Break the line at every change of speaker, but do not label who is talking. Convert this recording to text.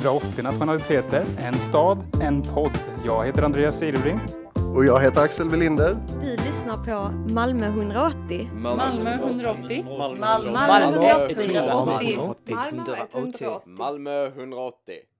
180 nationaliteter, en stad, en podd. Jag heter Andreas Silfverbrink.
Och jag heter Axel Welinder.
Vi lyssnar på Malmö 180.
Malmö 180.
Malmö
180.
180.
Malmö 180.